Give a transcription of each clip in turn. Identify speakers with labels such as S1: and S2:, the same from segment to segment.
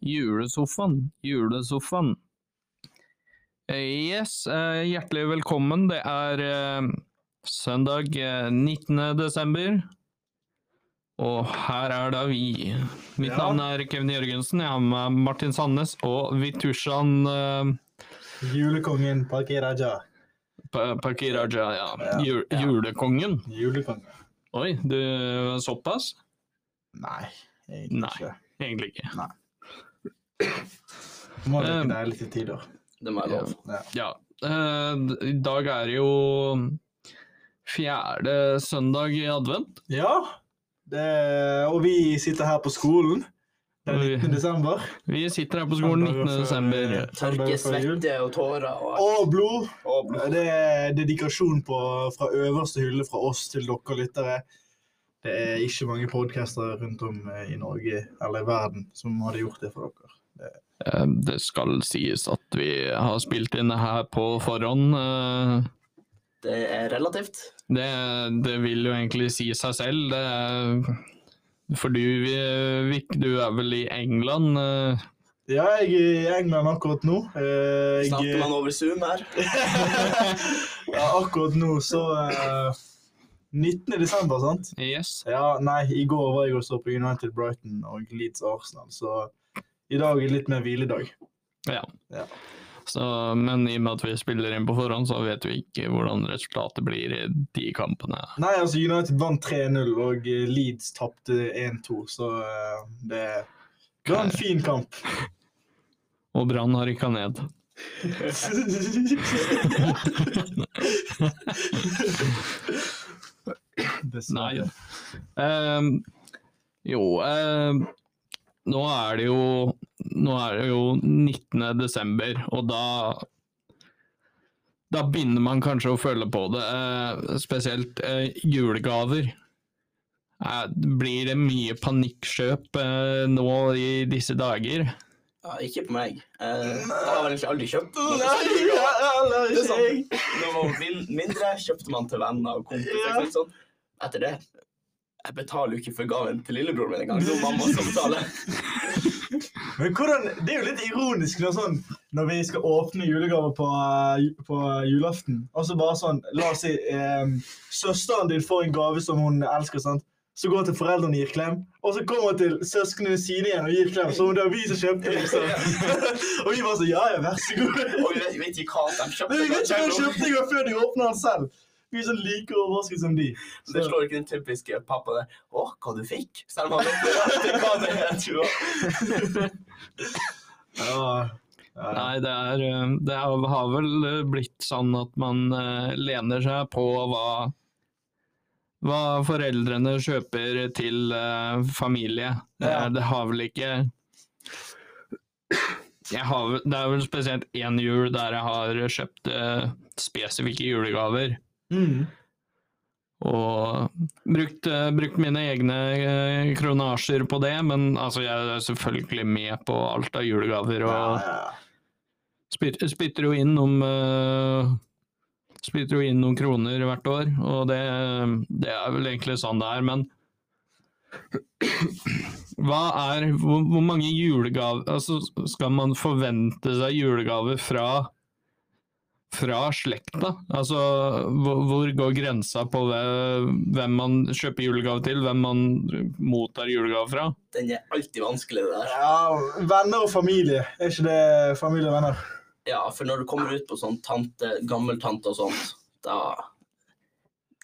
S1: Julesofaen, julesofaen. Eh, Yes, eh, hjertelig velkommen. Det er eh, søndag eh, 19. desember. Og her er da vi. Mitt
S2: Ja.
S1: navn er Kevin Jørgensen. Jeg har med meg Martin Sandnes og Vitushan eh,
S2: Julekongen Parki Raja.
S1: Pa- Pakiraja. Ja.
S2: Ja,
S1: Ju-
S2: ja.
S1: Julekongen.
S2: Julekonge.
S1: Oi, du såpass?
S2: Nei, egentlig
S1: Nei.
S2: ikke.
S1: Egentlig ikke.
S2: Må leke
S1: Um,
S2: deg litt i tid, da.
S3: Det må være lov.
S2: Ja.
S1: Ja. eh, d- I dag er det jo fjerde søndag i advent.
S2: ja det, og vi sitter her på skolen den
S1: Oi.
S2: 19. desember.
S1: Vi sitter her på skolen
S2: Søndager
S1: 19. desember.
S2: før-
S3: Tørke
S2: søndager før jul.
S3: svette og tårer og alt.
S2: Og blod!
S3: Og blod.
S2: Det er dedikasjon på, fra øverste hylle fra oss til dere lyttere. Det er ikke mange podcaster rundt om eh, i Norge eller i verden som hadde gjort det for dere.
S1: Eh, Det skal sies at vi har spilt inn det her på forhånd. eh,
S3: Det er relativt.
S1: Det, det vil jo egentlig si seg selv. Det er, for du, Vi- Vik, du er vel i England? eh,
S2: Ja, jeg er i England akkurat nå. Eh, Jeg,
S3: Snakker man over Zoom her?
S2: ja, akkurat nå så eh, 19. desember, sant?
S1: Yes.
S2: Ja, nei, i går var jeg også på United Brighton og Leeds Arsenal, så i dag er litt mer hviledag.
S1: Så, men i og med at vi spiller inn på forhånd, så vet vi ikke hvordan resultatet blir i de kampene.
S2: Nei, altså United vant 3-0, og eh, Leeds tapte 1-2, så eh, det, det var en fin kamp.
S1: Og Brann har rykka ned. Nei.
S2: Dessverre.
S1: Ehm, jo ehm, Nå er det jo Nå er det jo 19. desember, og da Da begynner man kanskje å føle på det. eh, spesielt eh, julegaver. Eh, blir det mye panikkjøp eh, nå i disse dager?
S3: Ja, ikke på meg. Eh, jeg har vel egentlig aldri kjøpt noe.
S2: Nei, ja, eller
S3: Det er
S2: ikke jeg.
S3: sånn, Når man var min- mindre, kjøpte man til venner og kompiser.
S2: Ja.
S3: ikke sant, Sånn. Etter det Jeg betaler jo ikke for gaven til lillebroren min engang. Det var mamma som betaler.
S2: Men hvordan, Det er jo litt ironisk når, sånn, når vi skal åpne julegaver på, eh, ju- på julaften. Og så bare sånn La oss si eh, søsteren din får en gave som hun elsker. sant? Så går hun til foreldrene og gir klem, og så kommer hun til søsknene sine igjen og gir klem. Så det er vi som kjøpte den, liksom. og vi bare sånn Ja ja, vær så god.
S3: Og vi vet, vet ikke hva de
S2: Men vi vet ikke hva hun
S3: kjøpte.
S2: kjøpte engang før de åpner den selv. Vi er sånn like overrasket som de.
S3: Det slår ikke den typiske pappa det. Å, hva du fikk? Selv om han vet nøyaktig hva det er. tror jeg.
S2: Ja, ja.
S1: Nei, det, er, eh, det er- har vel eh, blitt sånn at man eh, lener seg på hva, hva foreldrene kjøper til eh, familie. Det,
S2: Ja.
S1: er, det har vel ikke jeg har, vel- Det er vel spesielt én jul der jeg har kjøpt eh, spesifikke julegaver.
S2: Mm.
S1: Og brukt, eh, brukt mine egne eh, kronasjer på det, men altså, jeg er selvfølgelig med på alt av julegaver. og...
S2: ja, ja.
S1: Spytter, spytter jo inn om eh, Spytter jo inn noen kroner hvert år, og det, det er vel egentlig sånn det er, men Hva er Hvor, hvor mange julegaver Altså, skal man forvente seg julegaver fra fra slekta? Altså, hvor, hvor går grensa på hve- hvem man kjøper julegave til, hvem man mottar julegave fra?
S3: Den er alltid vanskelig, det der.
S2: Ja, venner og familie. Er ikke det familie og venner?
S3: Ja, for når du kommer ut på sånn tante, gammeltante og sånt, da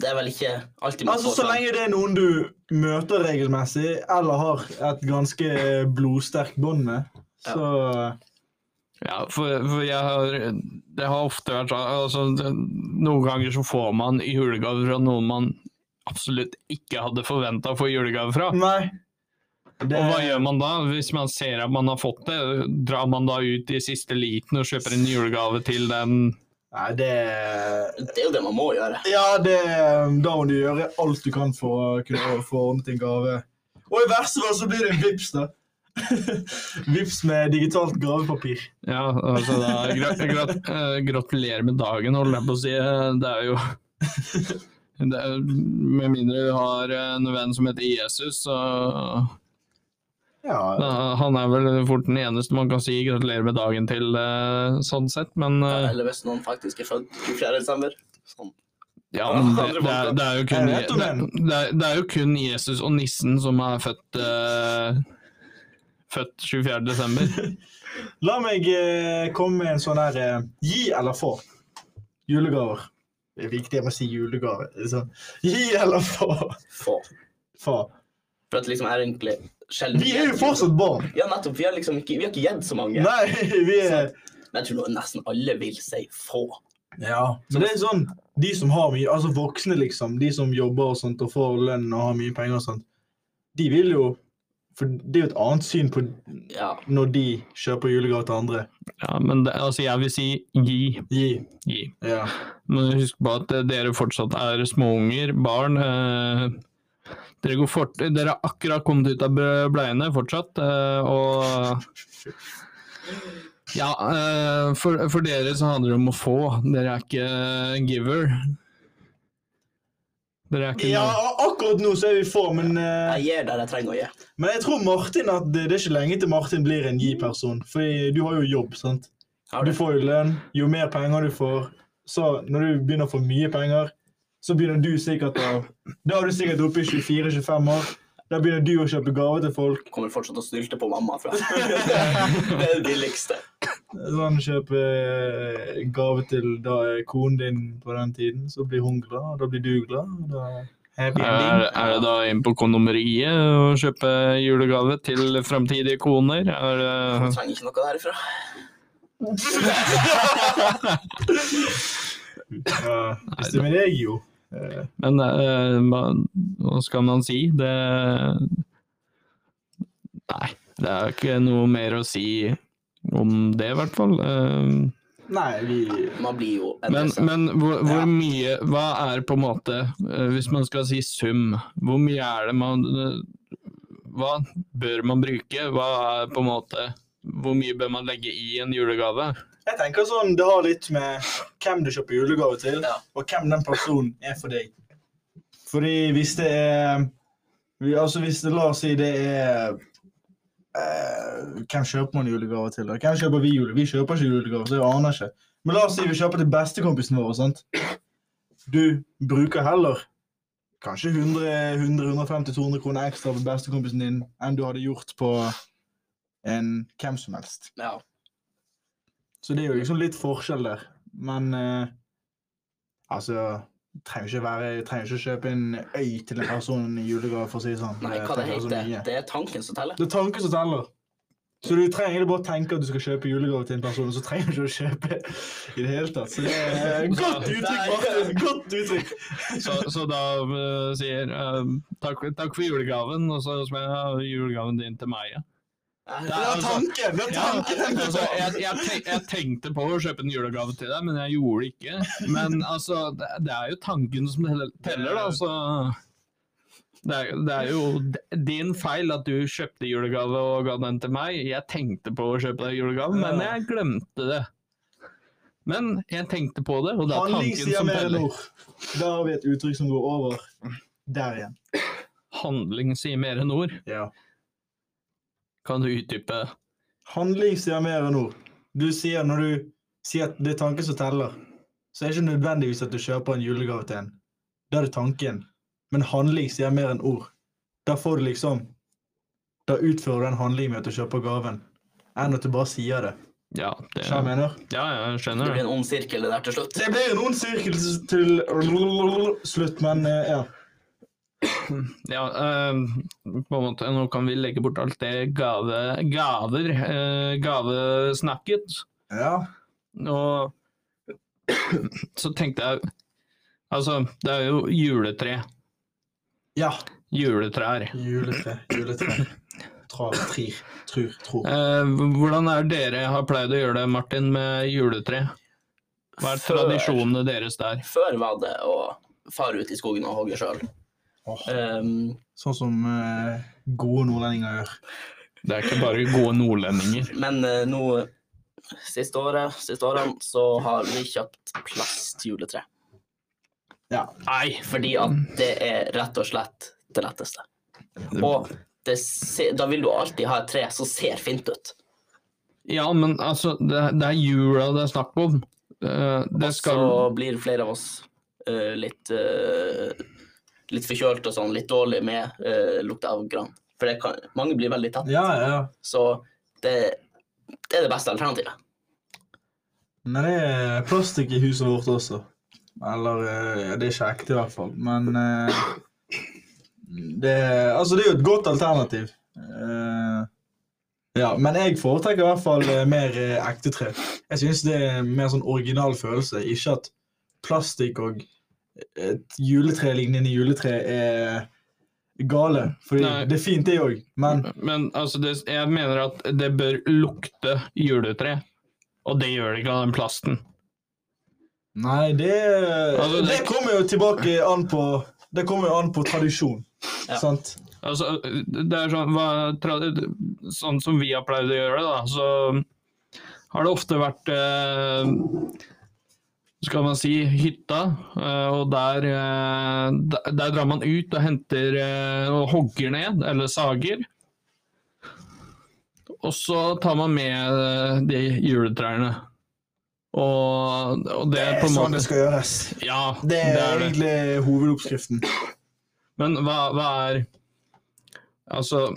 S3: Det er vel ikke alltid man
S2: Altså,
S3: får sånn-
S2: Så lenge det er noen du møter regelmessig, eller har et ganske eh, blodsterkt bånd med, så eh,
S1: Ja, for, for jeg har Det har ofte vært sånn altså, det- Noen ganger så får man julegave fra noen man absolutt ikke hadde forventa å få julegave fra.
S2: Nei. Det,
S1: Og hva gjør man da? Hvis man ser at man har fått det, drar man da ut i siste liten og kjøper en julegave til den
S2: Nei, det
S3: Det er jo det man må gjøre.
S2: Ja, det, um, da må du gjøre alt du kan for å kunne få ordnet en gave. Og i verste fall så blir det en vips, da. vips med digitalt gravepapir.
S1: Ja, altså da gra gra eh, Gratulerer med dagen, holder jeg på å si. Det er jo det er, Med mindre du har en venn som heter Jesus, så
S2: Ja,
S1: Da- Han er vel fort den eneste man kan si gratulerer med dagen til, eh, sånn sett. Men
S3: Ja,
S1: eh,
S3: Eller hvis noen faktisk er født 24. desember. Sånn.
S1: ja, men det, det, er, det, er jo kun,
S2: Jeg vet om
S1: det, det, er, det er jo kun Jesus og nissen som er født eh, Født 24. desember.
S2: La meg eh, komme med en sånn her eh, Gi eller få. Julegaver. Det er viktig jeg må si julegave. Det er Sånn. Gi eller få.
S3: Få.
S2: få.
S3: For at liksom er egentlig sjelden
S2: Vi er jo fortsatt barn.
S3: Ja, nettopp. Vi har liksom ikke, vi har ikke gitt så mange.
S2: Nei, vi er
S3: Men jeg tror nesten alle vil si få.
S2: Ja, men det er sånn De som har mye, altså voksne, liksom, de som jobber og sånt og får lønn og har mye penger og sånt, de vil jo For det er jo et annet syn på
S3: Ja.
S2: når de kjøper julegaver til andre.
S1: Ja, men det, altså, jeg vil si gi.
S2: Gi.
S1: gi.
S2: Ja.
S1: Men husk på at eh, dere fortsatt er småunger, barn. Eh, dere, går fort, dere har akkurat kommet ut av ble- bleiene fortsatt, eh, og Ja, eh, for, for dere så handler det om å få. Dere er ikke eh, giver. Dere er ikke
S2: ja, akkurat nå så er vi få, men eh,
S3: Jeg gir der jeg trenger å gi.
S2: Men jeg tror Martin at det, det er ikke lenge til Martin blir en gi-person. For du har jo jobb, sant.
S3: Har
S2: Du får jo lønn. Jo mer penger du får, så når du begynner å få mye penger, så begynner du sikkert å Da er du sikkert oppe i 24-25 år. Da begynner du å kjøpe gaver til folk.
S3: Kommer fortsatt å snylte på mamma. For det er det billigste.
S2: Sånn kjøpe eh, gave til da eh, konen din på den tiden, så blir hun glad, og da blir du glad, og da happy
S1: er,
S2: ending.
S1: er det da inn på kondomeriet å kjøpe julegave til framtidige koner? Er det
S3: Jeg trenger ikke noe derifra.
S2: Ja, hvis det er med deg, jo. Eh,
S1: Men eh, hva, hva skal man si? Det Nei, det er ikke noe mer å si om det, i hvert fall. Eh,
S2: Nei, vi
S3: Man blir jo
S1: men
S3: endret.
S1: men hvor, hvor
S3: Ja.
S1: mye Hva er på en måte, eh, hvis man skal si sum, hvor mye er det man eh, Hva bør man bruke? Hva er på en måte Hvor mye bør man legge i en julegave?
S2: Jeg tenker sånn, Det har litt med hvem du kjøper julegave til,
S3: Ja.
S2: og hvem den personen er for deg. Fordi hvis det er vi- Altså hvis det, La oss si det er eh, Hvem kjøper man julegave til? da? Hvem kjøper Vi jule? Vi kjøper ikke julegave, så jeg aner ikke. Men la oss si vi kjøper til bestekompisen vår. sant? Du bruker heller kanskje 100-150-200 kroner ekstra på bestekompisen din enn du hadde gjort på en hvem som helst.
S3: Ja.
S2: Så det er jo liksom litt forskjell der. Men eh, altså Trenger ikke, være, trenger ikke kjøpe en øy til en person i julegave, for å si det sånn.
S3: Nei, hva det
S2: tenker jeg så
S3: heter
S2: mye.
S3: det? er tanken som teller.
S2: Det er tanken som teller. Så du trenger egentlig bare tenke at du skal kjøpe julegave til en person, og så trenger du ikke å kjøpe i det hele tatt. Så det er godt uttrykk, Martin! Godt uttrykk.
S1: Så, så da eh, sier eh, takk, takk for julegaven, og så skal jeg ha julegaven din til meg. Ja.
S2: Det
S3: altså, Ja,
S2: er tanken! Det er
S1: Ja,
S2: tanken!
S1: altså, jeg, jeg, tenk, jeg tenkte på å kjøpe en julegave til deg, men jeg gjorde det ikke. Men altså, det, det er jo tanken som tell- teller, da. Så det er, det er jo d- din feil at du kjøpte julegave og ga den til meg. Jeg tenkte på å kjøpe deg julegave, men jeg glemte det. Men jeg tenkte på det, og det er
S2: Handling
S1: tanken
S2: sier
S1: som
S2: mer enn
S1: teller.
S2: ord. Da har vi et uttrykk som går over der igjen.
S1: Handling sier mer enn ord.
S2: Ja.
S1: Kan du utdype?
S2: Handling sier mer enn ord. Du sier når du sier at det er tanken som teller, så er det ikke nødvendigvis at du kjøper en julegave til en. Da er det tanken. Men handling sier mer enn ord. Da får du liksom Da utfører du den handlingen med at du kjøper gaven, enn at du bare sier det.
S1: Ja, det,
S2: Skjønner du hva jeg mener?
S1: ja, jeg
S3: det
S1: skjønner
S3: blir
S1: det.
S3: en ond sirkel det der til slutt.
S2: Det blir en ond sirkel til slutt, men eh, ja.
S1: Ja, ehm, på en måte, nå kan vi legge bort alt det gave, gaver, eh, gavesnakket.
S2: Ja.
S1: Og så tenkte jeg Altså, det er jo juletre.
S2: ja.
S1: Juletrær.
S2: Juletre, juletre. Trav, trir, trur, tror.
S1: Eh, hvordan er dere har pleid å gjøre det, Martin, med juletre? Hva er
S3: Før-
S1: tradisjonene deres der?
S3: Før var det å fare ut i skogen og hogge sjøl.
S2: Åh,
S3: Um,
S2: sånn som eh, gode nordlendinger gjør.
S1: Det er ikke bare gode nordlendinger.
S3: men eh, nå siste året, siste årene, så har vi kjøpt plastjuletre.
S2: Ja.
S1: Nei!
S3: Fordi at det er rett og slett det letteste. Og det se, da vil du alltid ha et tre som ser fint ut.
S1: Ja, men altså, det, det er jula det er snakk om. Eh,
S3: Og
S1: det skal
S3: så blir flere av oss eh, litt uh, litt forkjølt og sånn, litt dårlig med uh, lukta av gran. For det kan, mange blir veldig tett.
S2: Ja, ja.
S3: Så det, det er det beste alternativet.
S2: Men det er plastikk i huset vårt også. Eller eh, ja, Det er ikke ekte, i hvert fall. Men eh, det, altså, det er jo et godt alternativ. Eh, ja, men jeg foretrekker i hvert fall eh, mer eh, ekte tre. Jeg syns det er mer sånn original følelse. Ikke at plastikk og et juletre lignende juletre er gale. Fordi
S1: Nei.
S2: det er fint, det òg, men
S1: Men altså, det, jeg mener at det bør lukte juletre. Og det gjør det ikke av den plasten.
S2: Nei, det,
S1: Altså,
S2: det,
S1: det-
S2: kommer jo tilbake an på Det kommer jo an på tradisjon.
S3: Ja.
S2: Sant?
S1: Altså, det er sånn, hva, tra, sånn som vi har pleid å gjøre, da, så har det ofte vært eh, Skal man si hytta, eh, og der, eh, der, der drar man ut og henter eh, og hogger ned, eller sager. Og så tar man med eh, de juletrærne. Og, og det er på en
S2: sånn det
S1: måte
S2: skal gjøres.
S1: Ja,
S2: Det er, egentlig hovedoppskriften.
S1: Men hva, hva er Altså,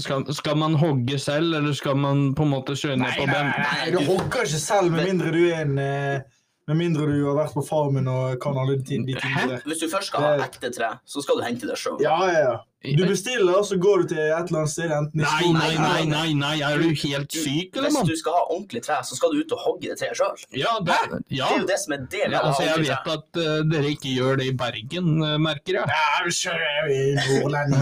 S1: skal, skal man hogge selv, eller skal man på en måte kjøre ned på ben?
S3: nei,
S2: du
S3: du-
S2: hogger ikke selv med mindre du er en eh, Med mindre du har vært på farmen og kan alle de ting- de
S1: Hæ?
S2: tingene der.
S3: Hvis du først skal ha
S2: Det-
S3: ekte tre, så skal du hente det sjøl.
S2: Ja, ja, ja. Du bestiller, så går du til et eller annet sted, enten i
S1: Nei,
S2: skogen
S1: nei, nei, nei, nei, er du helt syk, eller,
S3: Hvis
S1: mann?
S3: du skal ha ordentlig tre, så skal du ut og hogge det treet sjøl.
S1: Ja, det, ja.
S3: Det er jo det som er det med
S1: ja
S3: å ha
S1: altså, jeg
S3: ordentlig tre.
S1: vet at eh, dere ikke gjør det i Bergen, eh, merker jeg.
S2: Ja, du kjører jo i Nordland.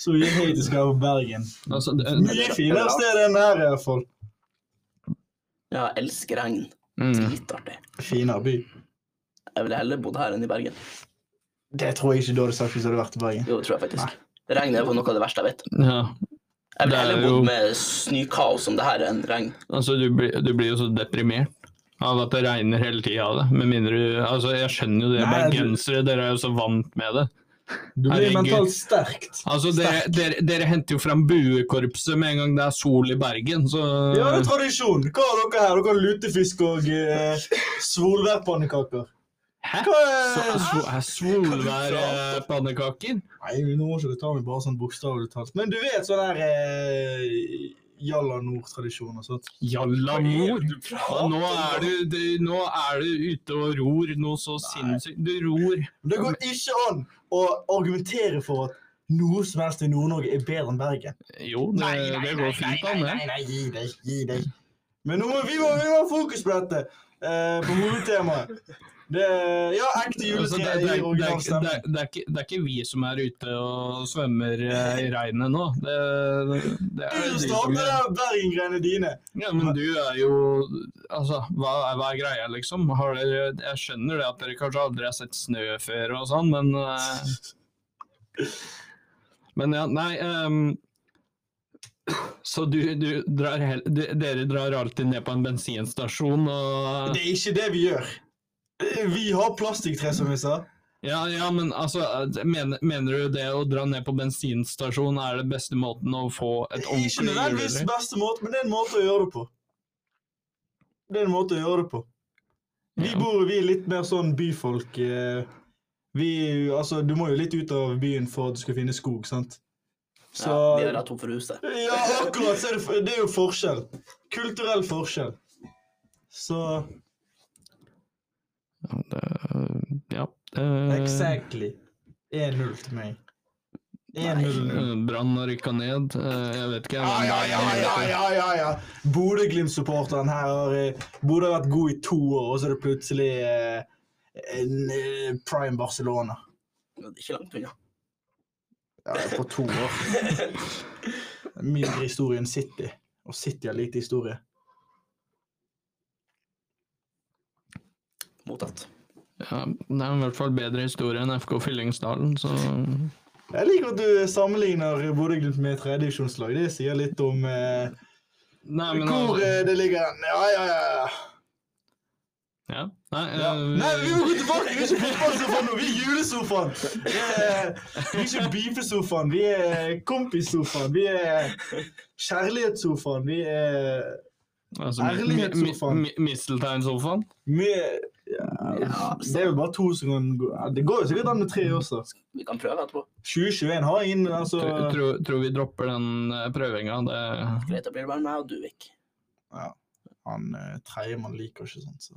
S2: Så vi er kritiske her på Bergen.
S1: Altså, det,
S2: Mye finere sted enn her, i hvert fall.
S3: Ja, jeg elsker regn.
S1: mm.
S3: Dritartig.
S2: Finere by.
S3: Jeg ville heller bodd her enn i Bergen.
S2: Det tror jeg ikke du hadde sagt hvis du hadde vært i Bergen.
S3: Jo, det tror jeg faktisk. Regn er jo noe av det verste jeg vet.
S1: ja.
S3: Jeg ville
S1: Det er
S3: heller
S1: jo-
S3: bodd med snøkaos som det her enn regn.
S1: Altså, du, blir- du blir jo så deprimert. Av at det regner hele tida av det. Med mindre du Altså, jeg skjønner jo det,
S2: Nei, du-
S1: bergensere, dere er jo så vant med det.
S2: Du blir
S1: Herregud.
S2: mentalt sterkt.
S1: Altså, dere, dere, dere henter jo fram buekorpset med en gang det er sol i Bergen, så
S2: Ja, det er tradisjon. Hva har dere her? Dere har lutefisk og eh, svolværpannekaker.
S1: Hæ?
S2: Hva
S1: Så
S2: er
S1: er svo- er eh, solværpannekaker?
S2: Nei, nå må ikke du ta meg bare sånn bokstavelig talt. Men du vet sånn der eh, Jalla Nord-tradisjon og sånt.
S1: Jalla mor! Ja, nå, er du, du, nå er du ute og ror noe så sinnssykt. Du ror.
S2: Men det går ikke an å argumentere for at noe som helst i Nord-Norge er bedre enn Bergen.
S1: Jo, det, det går fint an, det.
S2: nei, nei, gi deg, gi deg. Men nå må vi, må, vi må ha fokus på dette, eh, på hovedtemaet. Det, ja, ekte
S1: Altså, det,
S2: juletre
S1: det,
S2: i
S1: er- det,
S2: original
S1: er- det,
S2: stemme.
S1: er- det, er ikke- det er ikke vi som er ute og svømmer eh, i regnet nå. Det, det, det er
S2: Du
S1: de som
S2: starter
S1: gjør.
S2: der Bergen-greiene dine.
S1: Ja, men du er jo Altså, hva er, hva er greia, liksom? Har dere, jeg skjønner det at dere kanskje aldri har sett snø før og sånn, men eh, Men ja, nei ehm, Så du, du drar hel, de- Dere drar alltid ned på en bensinstasjon og
S2: Det er ikke det vi gjør. Vi har plastikktre, som vi sa.
S1: Ja, ja men altså mener, mener du det å dra ned på bensinstasjon er det beste måten å få et
S2: Ikke
S1: ordentlig
S2: nødvendigvis
S1: juletre?
S2: beste måte, men det er en måte å gjøre det på. Det er en måte å gjøre det på. Vi
S1: Ja.
S2: bor vi er litt mer sånn byfolk. eh, Vi, altså, du må jo litt ut av byen for at du skal finne skog, sant? Så
S3: Ja, vi er da tom for huset.
S2: Ja, akkurat! Så er det, f- det er jo forskjell. Kulturell forskjell. Så
S1: Ja, det, ja. eh,
S2: Exactly. 1-0 til meg. E 1-0.
S1: eh, Brann har rykka ned. eh, Jeg vet ikke.
S2: Ja,
S1: hvem det
S2: ja,
S1: er
S2: ja,
S1: som
S2: ja,
S1: heter.
S2: ja, ja, ja. Bodø-Glimt-supporteren her har eh, Bodø har vært god i to år, og så er det plutselig eh, en, eh, prime Barcelona.
S3: Men det er Ikke langt unna.
S2: Ja, på to år. Mindre historie enn City. Og City har lite historie.
S3: Mottatt.
S1: Ja, det er i hvert fall bedre historie enn FK Fyllingsdalen, så
S2: Jeg liker at du sammenligner Bodø-Glimt med tredjedivisjonslag. Det sier litt om eh,
S1: Nei, men
S2: hvor
S1: altså,
S2: eh, det ligger hen. Ja, ja, ja. ja.
S1: Ja. Nei,
S2: Ja.
S1: eh,
S2: Nei, vi må gå tilbake! Vi er ikke fotballsofaen nå, vi er julesofaen! Det er- Vi er ikke beefesofaen, vi er kompissofaen, vi er kjærlighetssofaen, vi er
S1: altså, mi-
S2: Ærlighetssofaen.
S1: mi- mi- Mistelteinsofaen.
S2: vi er-
S3: Ja,
S2: Det er jo bare to som kan gå ja, Det går jo sikkert an med tre også.
S3: vi kan prøve etterpå.
S2: 2021 har ingen altså,
S1: Tror, tror, tror vi dropper den eh, prøvinga. Det
S3: Greit, da blir det bare meg og du, Vik.
S2: Han eh, tredjemann liker ikke sånt. Så.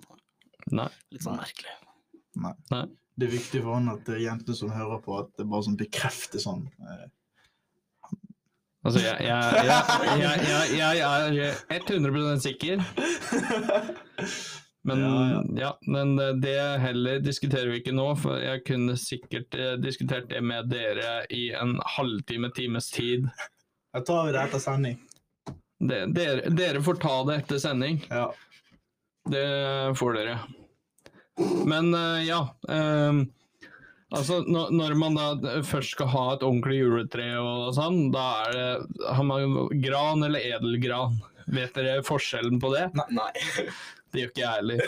S1: Nei.
S3: Litt sånn merkelig.
S2: Det er viktig for han at eh, jentene som hører på, at det bare sånn bekrefter sånn. eh,
S1: Altså, jeg, jeg, jeg, jeg, jeg, jeg er 100 sikker, men ja,
S2: Ja, ja.
S1: men eh, det heller diskuterer vi ikke nå, for jeg kunne sikkert eh, diskutert det med dere i en halvtime, times tid.
S2: Da tar vi det etter sending.
S1: Det, dere, dere får ta det etter sending.
S2: Ja.
S1: Det får dere. Men eh, ja ehm, Altså, når, når man da først skal ha et ordentlig juletre og sånn, da er det Har man gran eller edelgran? Vet dere forskjellen på det?
S3: Nei.
S1: Det gjør ikke jeg heller.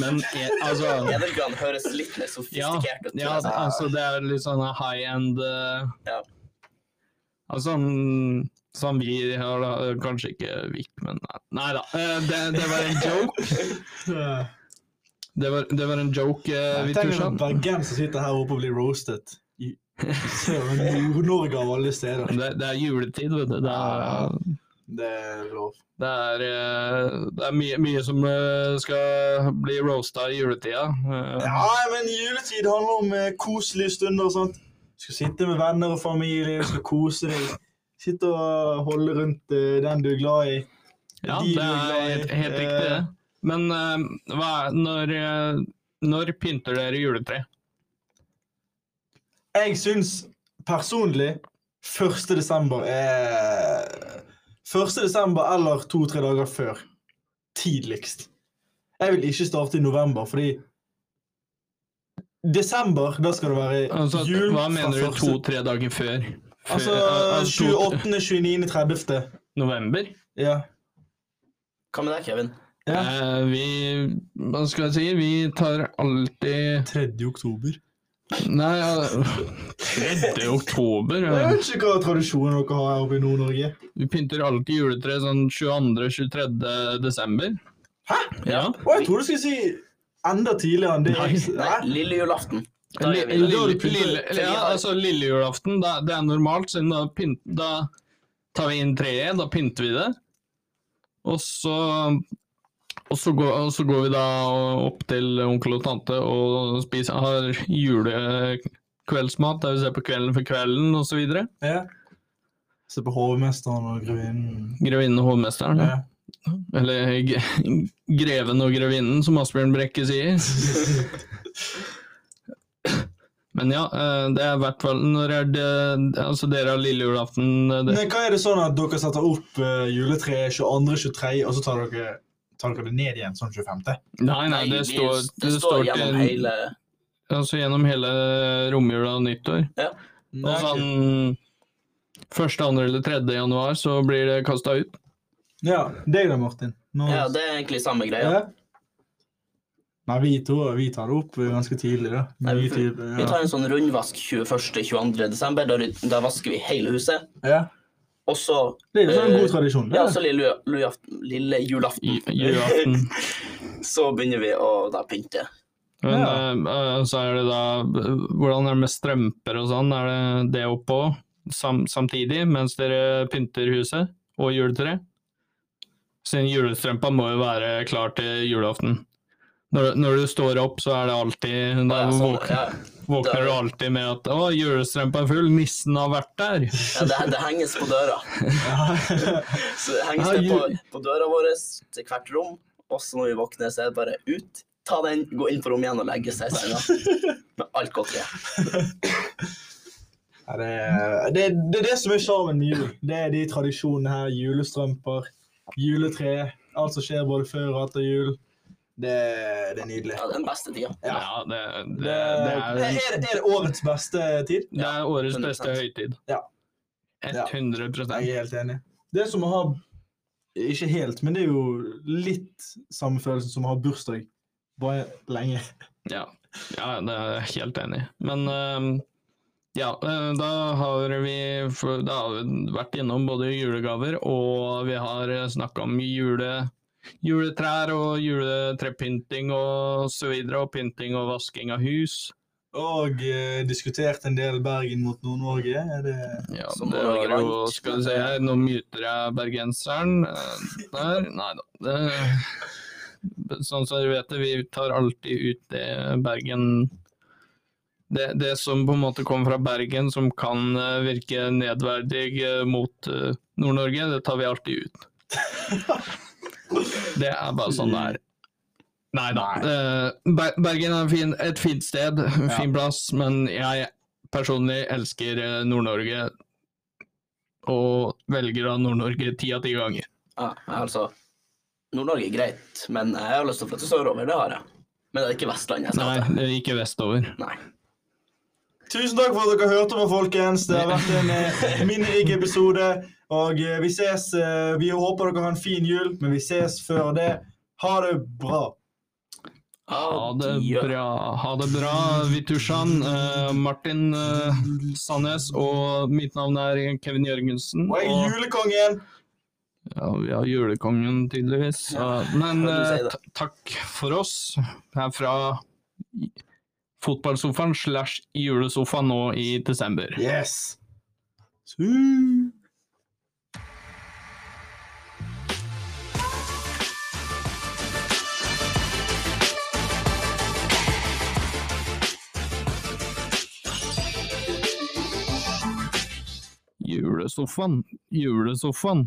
S1: Men e, altså
S3: Edelgran høres litt mer
S1: ja,
S3: sofistikert ut.
S1: ja,
S3: tror jeg.
S1: altså det er litt sånn high end eh,
S3: Ja.
S1: Altså mm, som vi har da, eh, kanskje ikke Vik, men nei, nei da. eh, Det, det var en joke.
S2: Eh,
S1: Det var, det var en joke, eh,
S2: Jeg tenker
S1: Vitushan.
S2: at bergenser sitter her oppe og blir roastet. I søren, Nord-Norge av alle steder.
S1: Det, det er juletid, vet du. Det er,
S2: Det er lov.
S1: det er, eh, det er mye, mye som eh, skal bli roasta i juletida. Eh,
S2: Ja, men juletid handler om eh, koselige stunder og sånt. Du skal sitte med venner og familie, du skal kose deg. Sitte og holde rundt eh, den du er glad i.
S1: Ja,
S2: de
S1: det
S2: du er
S1: er
S2: glad i,
S1: helt, helt riktig,
S2: eh,
S1: det. Men eh, hva er, når, eh, når pynter dere juletre?
S2: Jeg syns personlig 1. desember er 1. desember eller to-tre dager før. Tidligst. Jeg vil ikke starte i november, fordi Desember, da skal det være
S1: Altså,
S2: jul
S1: hva mener du
S2: første-
S1: to-tre dager før? Før-
S2: Altså
S1: al- altså, to-
S2: 28., 29., 30.
S1: november?
S2: Ja.
S3: Hva med deg, Kevin?
S2: Ja.
S1: Eh, vi Hva skal jeg si? Vi tar alltid
S2: 3. oktober.
S1: Nei, ja, 3. oktober?
S2: Jeg
S1: Ja.
S2: vet ikke hva tradisjonen dere har her oppe i Nord-Norge.
S1: Vi pynter alltid juletre sånn 22.-23. desember. Hæ? Ja.
S2: Å, jeg trodde du skulle si enda tidligere enn det.
S1: Nei.
S3: Nei, lille julaften. Da
S1: Li-
S3: gjør vi
S1: Lille,
S3: det.
S2: Da har du pyntet-
S1: lille, ja, altså lille julaften, da, det er normalt, siden da, pynt, da tar vi inn treet, da pynter vi det. Og så, og så, går, og så går vi da opp til onkel og tante og spiser, har julekveldsmat, der vi ser på kvelden for kvelden og så videre.
S2: Ja. Se på hovmesteren og grevinnen.
S1: Grevinnen og hovmesteren,
S2: Ja.
S1: eller g- greven og grevinnen, som Asbjørn Brekke sier. Men ja, eh, det er i hvert fall når er det Altså, dere har lille julaften eh, det,
S2: Men hva er det sånn at dere setter opp eh, juletreet 22., 23., og så tar dere, tar dere det ned igjen sånn 25.?
S1: Nei, nei, det
S3: vi-
S1: står,
S3: det står gjennom
S1: til,
S3: hele
S1: Altså gjennom hele romjula og nyttår. Og sånn første, andre eller tredje januar så blir det kasta ut.
S2: Ja, deg da, Martin. Nå,
S3: Ja, det er egentlig samme greia.
S2: Ja. Nei, vi to vi tar det opp ganske tidlig, da.
S3: Nei,
S2: Mye
S3: vi-
S2: tidlig,
S3: Vi tar en sånn rundvask 21.-22. desember. Da, ryd- da vasker vi hele huset.
S2: ja. ja.
S3: Og så
S2: Det er jo sånn en
S3: eh,
S2: god tradisjon. Det.
S3: Ja, så lille, ju- julaften- lille
S1: i-
S3: julaften.
S1: i Julaften.
S3: Så begynner vi å da pynte.
S1: Men
S2: Ja.
S1: eh, eh, så er det da Hvordan er det med strømper og sånn? Er det det oppå sam samtidig mens dere pynter huset og juletreet? Siden julestrømpa må jo være klar til julaften. Når, når du står opp, så er det alltid Da
S3: Ja, sånn,
S1: våk-
S3: ja.
S1: våkner
S3: Da-
S1: du alltid med at 'Å, julestrømpa er full, nissen har vært der'.
S3: Ja, det, det henges på døra.
S2: Ja.
S3: Så det henges
S1: Ja,
S3: det på,
S1: jul-
S3: på døra vår til hvert rom. Og så når vi våkner, så er det bare ut, ta den, gå inn på rommet igjen og legge seg i senga. Med alt godteriet.
S2: Ja, det, er- det, er- det er det som er sjarmen med jul. Det er de tradisjonene her. Julestrømper, juletre, alt som skjer både før og etter jul. Det, det er nydelig.
S3: Ja, den beste tida.
S2: Ja.
S1: Ja, det, det,
S2: Det,
S1: det er
S2: er, er det årets beste tid?
S1: Det er årets
S3: 100%.
S1: beste høytid.
S2: Ja.
S1: 100
S2: Jeg er helt enig. Det er som å ha Ikke helt, men det er jo litt samme følelsen som å ha bursdag Bare lenge.
S1: Ja, ja det er jeg helt enig i. Men eh, ja, eh, da har vi for- da har vi vært innom både julegaver, og vi har snakka om jule, juletrær og juletrepynting og så videre, og pynting og vasking av hus.
S2: Og eh, diskutert en del Bergen mot Nord-Norge. Er det
S1: Ja,
S3: Som
S1: det var
S3: var
S1: jo
S3: greit.
S1: Skal vi se her, nå myter jeg bergenseren eh, der. Nei da. Det, sånn som dere vet det, vi tar alltid ut det Bergen det, det som på en måte kommer fra Bergen som kan eh, virke nedverdig eh, mot eh, Nord-Norge, det tar vi alltid ut. Det er bare sånn det er. Nei da. eh, Ber- Bergen er en fin, et fint sted, en
S2: Ja.
S1: fin plass, men jeg personlig elsker eh, Nord-Norge. Og velger da Nord-Norge ti av ti ganger.
S3: Ja, altså, Nord-Norge er greit, men jeg har lyst til å flytte sørover, det har jeg. Men det er ikke Vestlandet jeg
S1: Nei,
S3: skal til.
S1: det er ikke vestover.
S3: Nei.
S2: Tusen takk for at dere hørte meg, folkens. Det har vært en eh, minnerik episode. Og eh, vi ses. Eh, vi håper dere har en fin jul, men vi ses før det. Ha det bra.
S1: Ha det
S3: Adjø.
S1: bra, ha det bra Vitushan, eh, Martin eh, Sandnes, og mitt navn er Kevin Jørgensen.
S2: Og jeg er
S1: Og
S2: julekongen.
S1: ja, vi har julekongen, tydeligvis.
S3: Ja,
S1: Ja, Men
S3: hørte du si
S1: eh,
S3: det.
S1: ta- takk for oss her fra fotballsofaen slash julesofaen nå i desember.
S2: Yes.
S1: Julesofaen, julesofaen.